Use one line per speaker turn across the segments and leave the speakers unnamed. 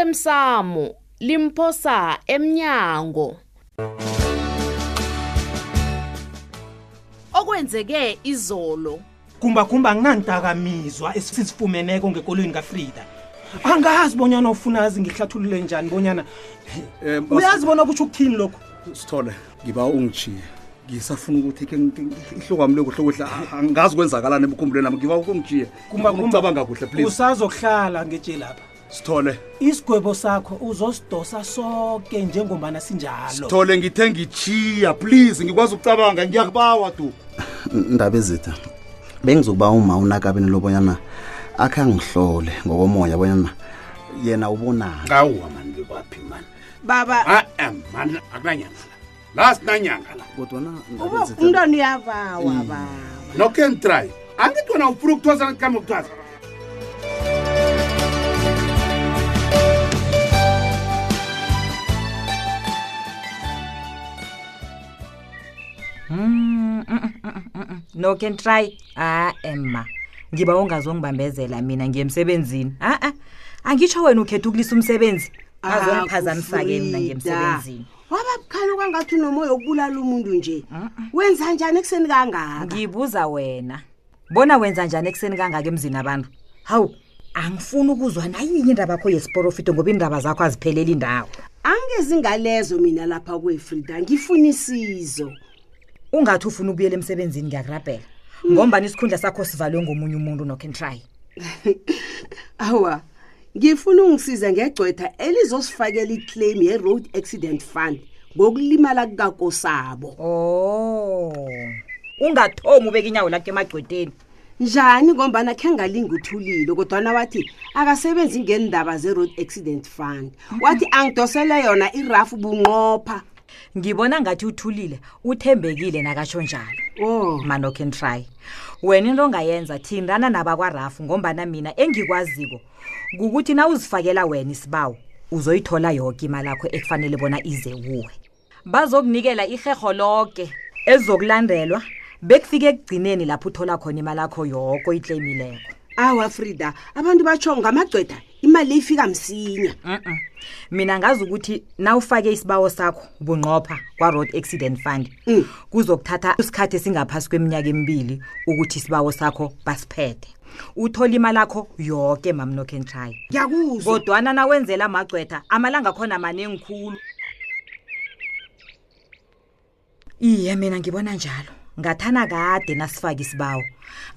osemsamo limphosa emnyango okwenzeke izolo
gumbagumba anginantakamizwa esizifumeneko ngekolweni kafrida angazi bonyana ufuna azi ngihlathulule njani bonyana
Eh, bas-
uyazi bona kutsho ukuthini lokhu
sithole ngiba ungijiye ngisafuna ukuthi ke ihlokami lokuhlokuhle angazi kwenzakalani emkhumbulweni nami ngiba ungijiye ngicabanga kuhle please
usazokuhlala ngetshe lapha
sithole
isigwebo sakho uzosidosa soke njengombana sinjalo
sithole ngithe ngijiya please ngikwazi ukucabanga ngiyakubawa du
ndaba ezitha bengizokuba uma unakabeni lobonyana akhe angihlole ngokomoya bonyana yena ubonani
ngawuwa mani bekwaphi mani
baba
a-a mani akunanyanga la la sinanyanga la
kodwana Ndaba
uba
Ezitha,
umntwana uyabawa
Mm.
baba
nokho engitry angithi wena ufuna ukuthwasa ngikambe ukuthwasa
no can try ha-e ma ngiba ungazongibambezela mina ngiye emsebenzini ha-a angitsho wena ukhetha ukulisa umsebenzi
Ah,
azongiphazamisa-ke mina ngiye emsebenzini
wababukhali kwangathi unomoya wokubulala umuntu nje wenza njani ekuseni kangaka
ngibuza wena bona wenza njani ekuseni kangaka emzini abantu hawu angifuni ukuzwa nayinye indaba yakho yesiporofito ngoba iindaba zakho azipheleli ndawo
angezi ngalezo mina lapha kwefrida ngifuna isizo
ungathi ufuna ukubuyela emsebenzini ngiyakurabhela ngombani isikhundla sakho sivalwe ngomunye umuntu no can try
awa ngifuna ungisiza ngegcwetha elizosifakela iclaim ye-road accident fund ngokulimala kukakosabo
o Oh. ungathomi ubeka inyawo lakho emagcweteni
njani ngombana khe ngalinga uthulile kodwana wathi akasebenzi ngendaba ze-road accident fund wathi angidosele yona irafu bunqopha
ngibona ngathi uthulile uthembekile nakatsho njalo
o
mano can try wena into ongayenza thindana nabakwarafu ngombana mina engikwaziko kukuthi na uzifakela wena isibawo uzoyithola yoke imali yakho ekufanele bona ize kuwe bazokunikela iheho loke ezizokulandelwa bekufike ekugcineni lapho uthola khona imali yakho yoko itleyimileko
awa frida abantu batsho ngamagcwetha imali ifika msinya
Mm-mm. mina ngazi ukuthi nawufake isibawo sakho bunqopha kwa-road accident fund
Mm.
kuzokuthatha isikhathi esingaphasi kweminyaka emibili ukuthi isibawo sakho basiphethe uthole imali yakho yoke mamnocan try
ngiyakuzwa
kodwana nawenzela amagcwetha amalanga khona maningi khulu iye mina ngibona njalo ngathana kade nasifake isibawo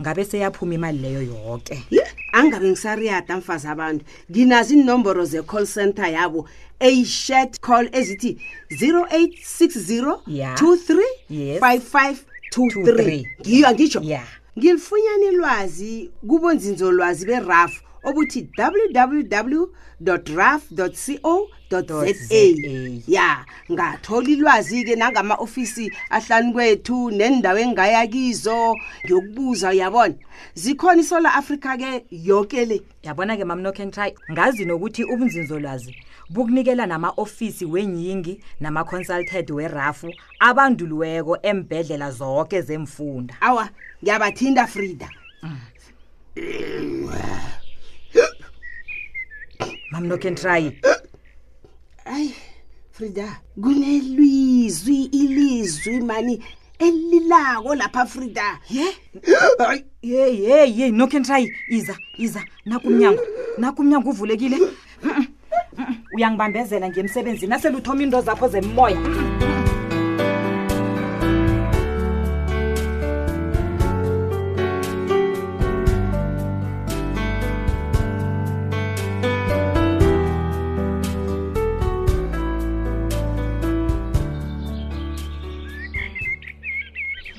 ngabe seyaphuma imali leyo yoke
Ye, angabe ngisariyada mfazi abantu nginazo iinomboro ze-call center yabo eyishet call ezithi 0860
Ya.
23
Yes.
5523 ngiyo angitsho
ya
ngilifunyana ilwazi kubonzinzolwazi berafu obuthi www raf co za ya ngathola ilwazi-ke nangama-ofisi ahlani kwethu nendawo engaya kizo ngiyokubuza uyabona zikhona isolar africa-ke yoke le
yabona-ke mamnocan try ngazi nokuthi ubunzinzolwazi bukunikela nama-ofisi wenyingi nama-consulted werafu abanduliweko embhedlela zonke zemfunda
awa ngiyabathinta frida
mamnocan try
ayi frida kunelizwi ilizwi mani elilako lapha frida ye Ayi.
yeyi yeyi yeyi nocan try iza iza nakumnyango nakumnyango uvulekile Mm-mm, mm-mm, uyangibambezela nje emsebenzini aseluthoma into zakho zemmoya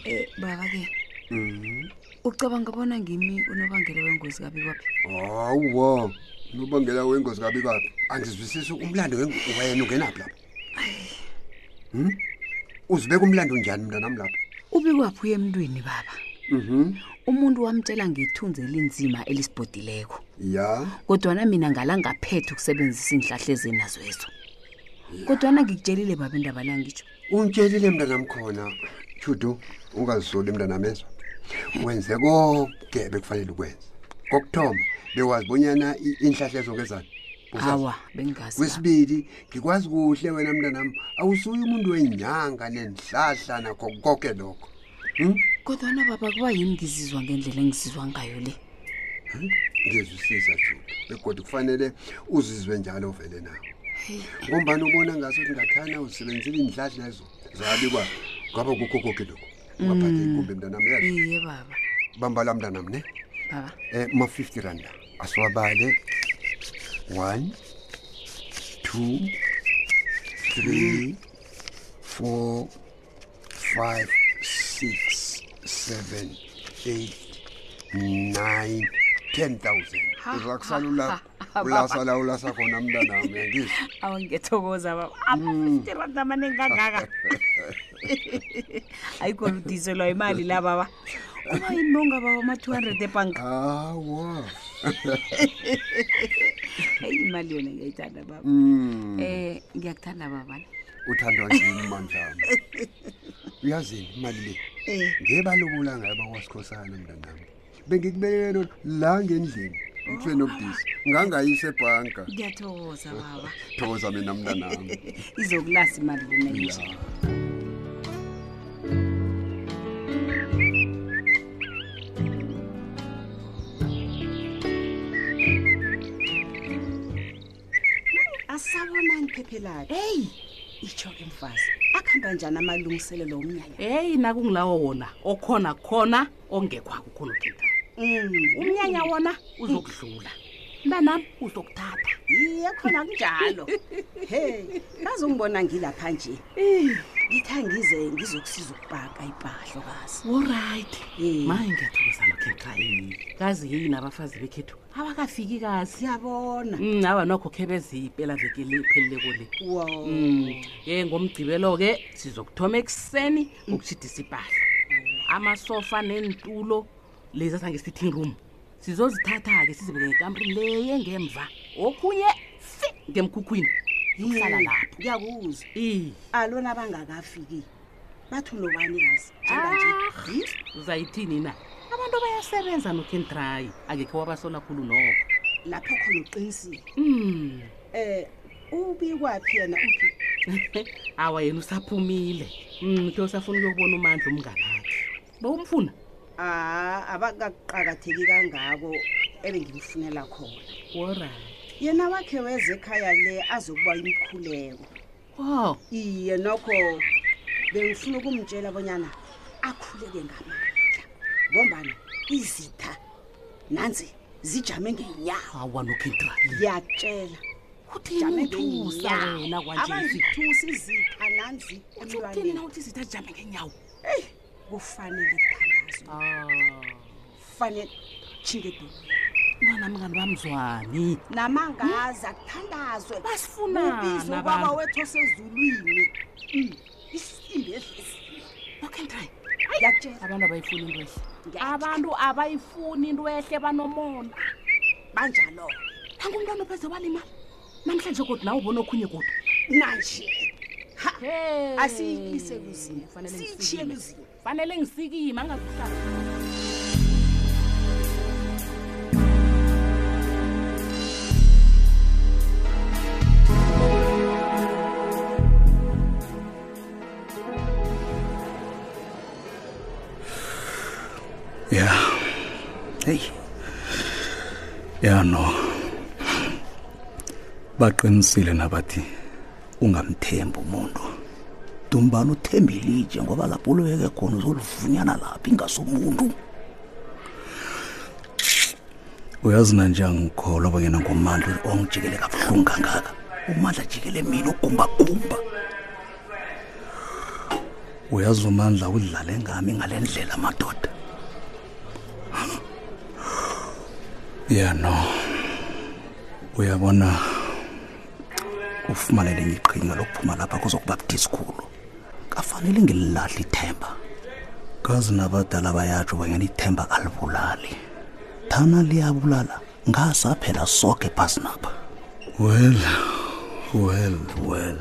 Eh baba-ke ucabanga bona ngimi unobangela wengozi kabi kwaphi
hawuwa unobangela wengozi kabi kabi angizwisisi umlando wengu- wena ungenaphi lapha Hmm? uzibeka umlando njani mntanam lapha
ubikwaphi uye emntwini baba
Mhm.
umuntu wamtshela ngethunzi elinzima elisibhodileko
ya
kodwana mina ngalangaphethe ukusebenzisa iinhlahla ezinazwezo kodwana ngikutshelile baba indaba la ngitsho
ungitshelile mntanam khona judu ungazisoli mntanam ezwa wenze konke bekufanele ukwenza kokuthoma bewazi bonyana i- iinhlahla ezonke zani
hawa bengazi baba.
kwesibili ngikwazi kuhle wena mntanami awusuye umuntu wenyanga nenhlahla nakho konke lokho Hmm?
kodwana baba kuba yini ngizizwa ngendlela engizizwa ngayo le
Hmm? ngizwisisa juda begodwa kufanele uzizwe njalo vele nawo ngombani ubona ngasuthi ngathana usebenzile indlahla ezo zabikwa ngaba kukho konke lokhu ungaphathe ikumbi mntanami yazi
iye baba
bambala mntanami ne
baba
um ma-fifty randa asiwabale one two three four five six seven eight nine ten thousand uzakusalula ulasala ulasa khona mntanami ngizwa
awangiyathokoza baba amafifty rand amaningi kangaka ayikhona udiselwa imali la baba kuba yini bongababa ama-two hundred ebhanka
Ah. hawa
eyi imali yona ngiyayithanda baba
Hmm.
Mm.
um ngiyakuthanda babani
uthandwa ngimi manjani uyazini imali le ngebalobola ngayo bakwasikhosana mntanami bengikubekele yona la ngendlini mfeni obudisi ngangayise ebhanka
ngiyathokoza baba
thokoza mina mntanami
izokulasa imali lena nje
asabonani iphephe lakhe eyi itsho-ke mfazi akuhamba njani amalungiselelo omnyanya
heyi nakungilawo wona okhona khona ongekho akukho nokhethayo
Mm.
umnyanya wona uzokudlula mntanam uzokuthatha
iye khona kunjalo he bazongibona ngilapha nje ngithi angize ngizokusiza ukupaka ipahlo kazi
oright
Eh.
maye ngiyathokozana khenkhayini kazi yini abafazi bekhethu abakafiki kazi
siyabona
Mm, awa nokho khe beziyipela veke le phelileko le
wo
Mm, ye ngomgcibelo-ke sizokuthoma ekuseni ukushidisa impahla amasofa nentulo lezi asange-sitting room sizozithatha-ke sizibeke ngekamri le yengemva okhunye fi ngemkhukhwini ukuhlala
eh,
lapho
ngiyakuzwa
i
alona ah, bangakafiki bathi unobani kazi njenganje
Ah. uzayithini na abantu bayasebenza nokhentrayi angekhe wabasola khulu nokho
lapho khona uqinisile
mm.
um ubikwaphi yena uphi
awa yena usaphumile mm, khe usafuna ukuyokubona umandla umnganakhe bawumfuna
a abakakuqakatheki Ah, kangako ebengimfunela khona
orit
yena wakhe weze ekhaya le azokuba imkhuleko
o
iye nokho bengifuna ukumtshela bonyana akhuleke ngamandla ngombana izitha nanzi zijame ngenyawo
awa nokhentrayi
ngiyakutshela
uthini uthusa wena kwanje
abangithusi izitha nanzi
uthini na
emlwaneni
uthi zitha jame ngenyawo
kufanele kuthandazwe
Ah.
kufanele chingedu
mntwana mngani bamzwani
namangaza kuthandazwe
Basifunani
ubizwe
abantu?
ubaba wethu osezulwini Mm, isimbi edlesi
okhentrayi
ngiyakutshela
abantu abayifuni into ehle
Ngiyakutjela.
abantu abayifuni into ehle banomona
banjalo
nangu umntwana opheze walimala namhlanje kodwa nawe ubona okhunye kodwa
nanje ha
Hey.
asiyise kuzini
Fanele
siyishiye
ngisikime.
kuzini
fanele ngisikime angazuhlala
ya heyi ya no baqinisile nabathi ungamthembi umuntu dumbani uthembe ilitshe ngoba lapho uluyeke khona uzolivunyana lapha ingasomuntu uyazi nanje angikholwa bonyena ngumandla ongijikele kabuhlungu kangaka umandla jikele mina ugumbagumba uyazi umandla udlale ngami ngale ndlela madoda ya no uyabona ufumane lenye iqhinga lokuphuma lapha kuzokuba budisikhulu kafanele ngililahla ithemba kazi nabadala bayatsho banyana ithemba alibulali thana liyabulala ngasaphela soke phasinapha well well well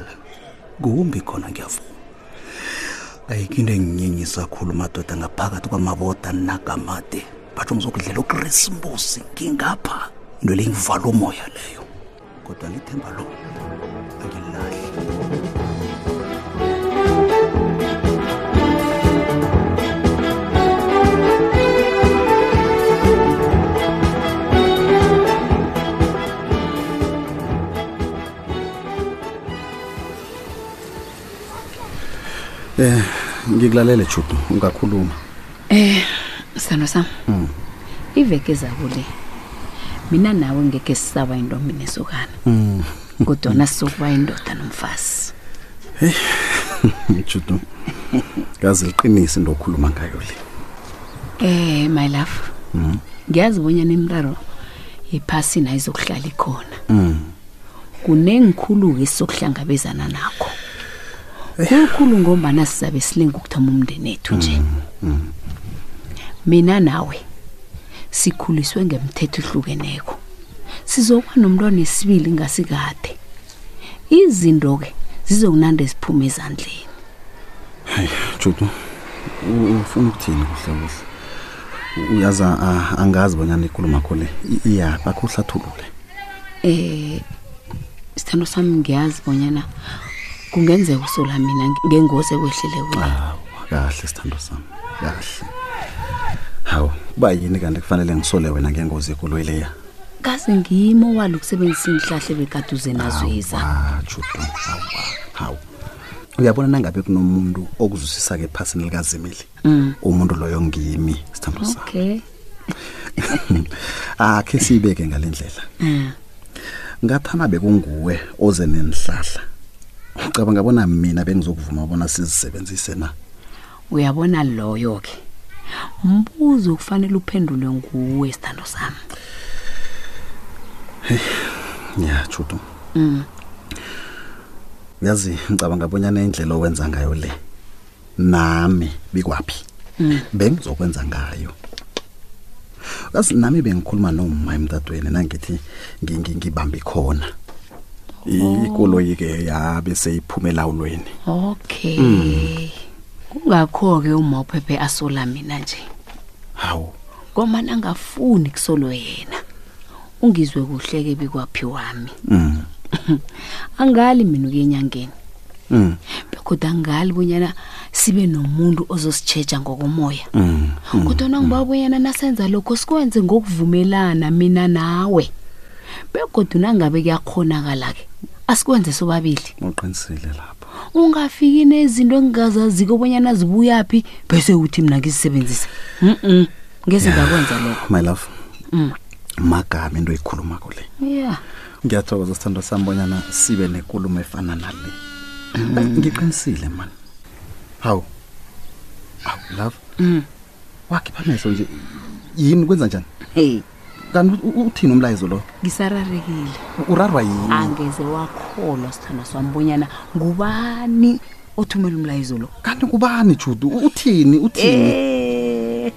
kumbi khona ngiyavuma ayikho into enginyenyisa khulu madoda ngaphakathi kwamaboda nagamade batsho ngizokudlela ukrisimbusi ngingapha into le ingivala umoya leyo kodwa lithemba lo angililahli
Eh, ngikulalele Judu, ungakhuluma.
Eh, sithando sam. Iveke zakule. Mina nawe ngeke sisaba intombi nesokana.
Mm.
Kodwana sizokuba indoda nomfazi.
Judu. Ngazi liqinisi into okhuluma ngayo le.
Eh, my love. Ngiyazi bonyana imraro iphasi nayo izokuhlala ikhona.
Mm.
kunengikhulu ke sokuhlangabezana nakho kukhulu ngombana sizabe silinga ukuthoma umndeni ethu nje mina nawe sikhuliswe ngemthetho ehlukeneko sizokuba nomntwana esibili ngasikade izinto ke zizokunande ziphume ezandleni
Judu. u- Ufuna ukuthini kuhle kuhle? U- Uyazi a- ah, angazi bonyana ikhuluma kho le i- iyaphi akho hlathulule.
eh sithando sami ngiyazi bonyana kungenzeka usola mina ngengozi ekwehlele wena
Hawu, kahle sithando sami. Kahle. Hawu, kuba yini kanti kufanele ngisole wena ngengozi ekoloyi leya?
kaze ngimo walo ukusebenzisa iinhlahle bekaduze nazo iza
judu awa hawu uyabona nangabe kunomuntu okuzwisisa-ke ephasini likazimili
Mm.
umuntu loyo ngimi sithando sami
okay
akhe siyibeke ngale ndlela
um
ngathana bekunguwe oze nenhlahla ucabanga bona mina bengizokuvuma bona sizisebenzise na
uyabona loyo ke mbuzo kufanele uphendulwe nguwe isithando sami
ya judu uyazi ngicabanga bonyana indlela owenza ngayo le nami bikwaphi bengizokwenza ngayo yazi nami bengikhuluma nomma emtatweni nangithi ngi- ngi- ngibambe khona I- ikoloyi-ke yabe seyiphume elawulweni
okay kungakho-ke umaphephe asola mina nje
hawu
ngomani angafuni kusolo yena ungizwe kuhleke bikwaphi wami
mm.
angali mina ukuya enyangeni
Mm.
bekodwa angali bonyana sibe nomuntu ozositshetsha ngokomoya
Mm.
kodwana ngiba bonyana nasenza lokho sikwenze ngokuvumelana mina nawe begodwa nangabe kuyakhonakala-ke asikwenze sobabili
uqinisile lapho
ungafiki nezinto engingazaziko obonyana zibuyaphi bese uthi mna ngizisebenzise mm ngeze ngakwenza lokho
my love
Mm.
magama into oyikhulumako e le
ya
ngiyathokoza sithando sami bonyana sibe nenkulumo efana nale Ayi, ngiqinisile mani hawu hawu love wakhipha amehlo nje yini kwenza njani
hey
kanti u- u- uthini umlayezo lo
ngisararekile
U- urarwa yini
angeze wakholwa sithanda sami bonyana ngubani othumela umlayezo lo
kanti
그
kubani judu U- uthini uthini
Eh.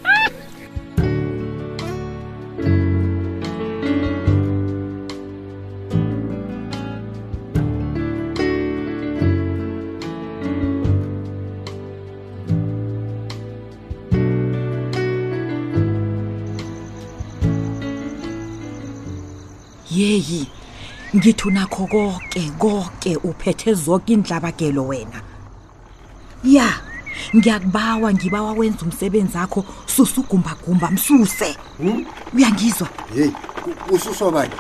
yeyi ngithi unakho konke konke uphethe zonke indlabagelo wena ya ngiyakubawa ngibawa wenza umsebenzi akho susugumbagumba msuse uyangizwa
yeyi ususwa bani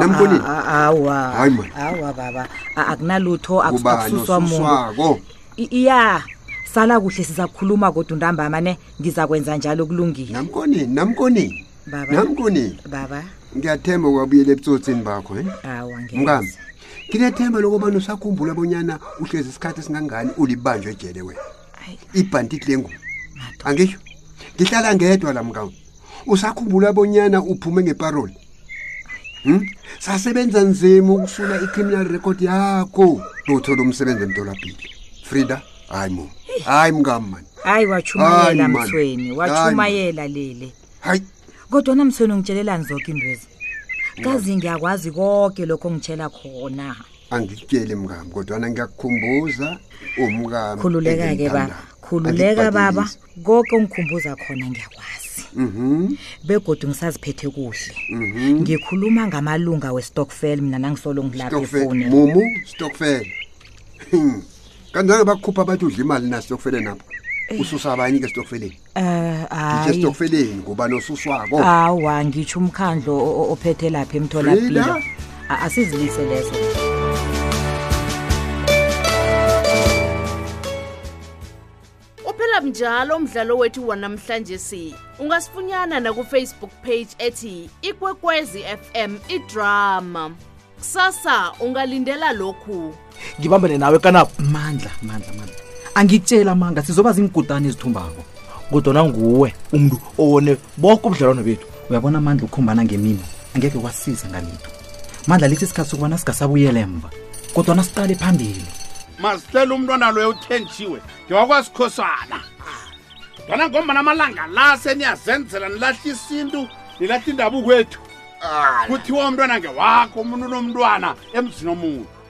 nambonile Hayi, man.
awa baba A- akunalutho akus-
kubani
akususwa muntu
osuswako
I- ya sala kuhle sizakhuluma kodwa untambama ne ngizakwenza njalo kulungile
namkoneni namkoneni
Baba.
namkoneni
baba
ngiyathemba ukwabuyela ebutsotsini bakho em
awa ngeke.
mngami nginethemba lokubana usakhumbula bonyana uhlezi isikhathi esingangani ulibanjwe ejele wena
Ayi.
ibhantiti lengubo angisho ngihlala ngedwa la mngami usakhumbula bonyana uphume ngeparoli Hmm? sasebenza nzima ukusula i-criminal record yakho lothola umsebenzi emtolapilo frida hayi mo hayi mngami mani
hayi wachumayela
Hayi, man.
mthweni
Hayi,
wachumayela lele
hayi
kodwa namthweni ungitshelelani zonke indwezi kazi ngiyakwazi konke lokho ongitshela khona
angikutsheli mngami kodwana ngiyakukhumbuza umkami
khululeka-ke baba
engimthandako.
khululeka baba
Angikubhadelisi.
konke ungikhumbuza khona ngiyakwazi
Mhm.
begodwa ngisaziphethe kuhle
Mhm.
ngikhuluma ngamalunga westokfel mina nangisolo ngilapha
Stokfel.
efoni
Mumu Stokfel. Hmm. Kanjani bakhupha abantu udla imali na Stokfel napho? Ususa abanye ke Stokfeleni.
um
Ngisho
Eh. hayi Ah.
Stokfeleni ngoba nosuswako.
awa ngitsho umkhandlo o- o- ophethe lapha
Frida?
emtholapilo A- asizilise lezo
uphela mnjalo umdlalo wethu wanamhlanje si ungasifunyana nakufacebook page ethi ikwekwezi fm idrama kusasa ungalindela lokhu
ngibambane nawe kanabo mandla mandla mandla angikutshela amanga sizoba ziingudane ezithumbako kodwana nguwe umntu owone boke ubudlelwano bethu uyabona amandla ukukhumbana ngemini angeke kwasiza ngalitho mandla lesi sikhathi sokubana singasabuyele emva kodwana siqale phambili
masihlela umntwana loyo uthenjiwe ngewakwazikhosana ntwana ngombana amalanga la seniyazenzela nilahla isintu nilahla indabukwethu kuthiwa umntwana ngewakho umuntu unomntwana emzini omuntu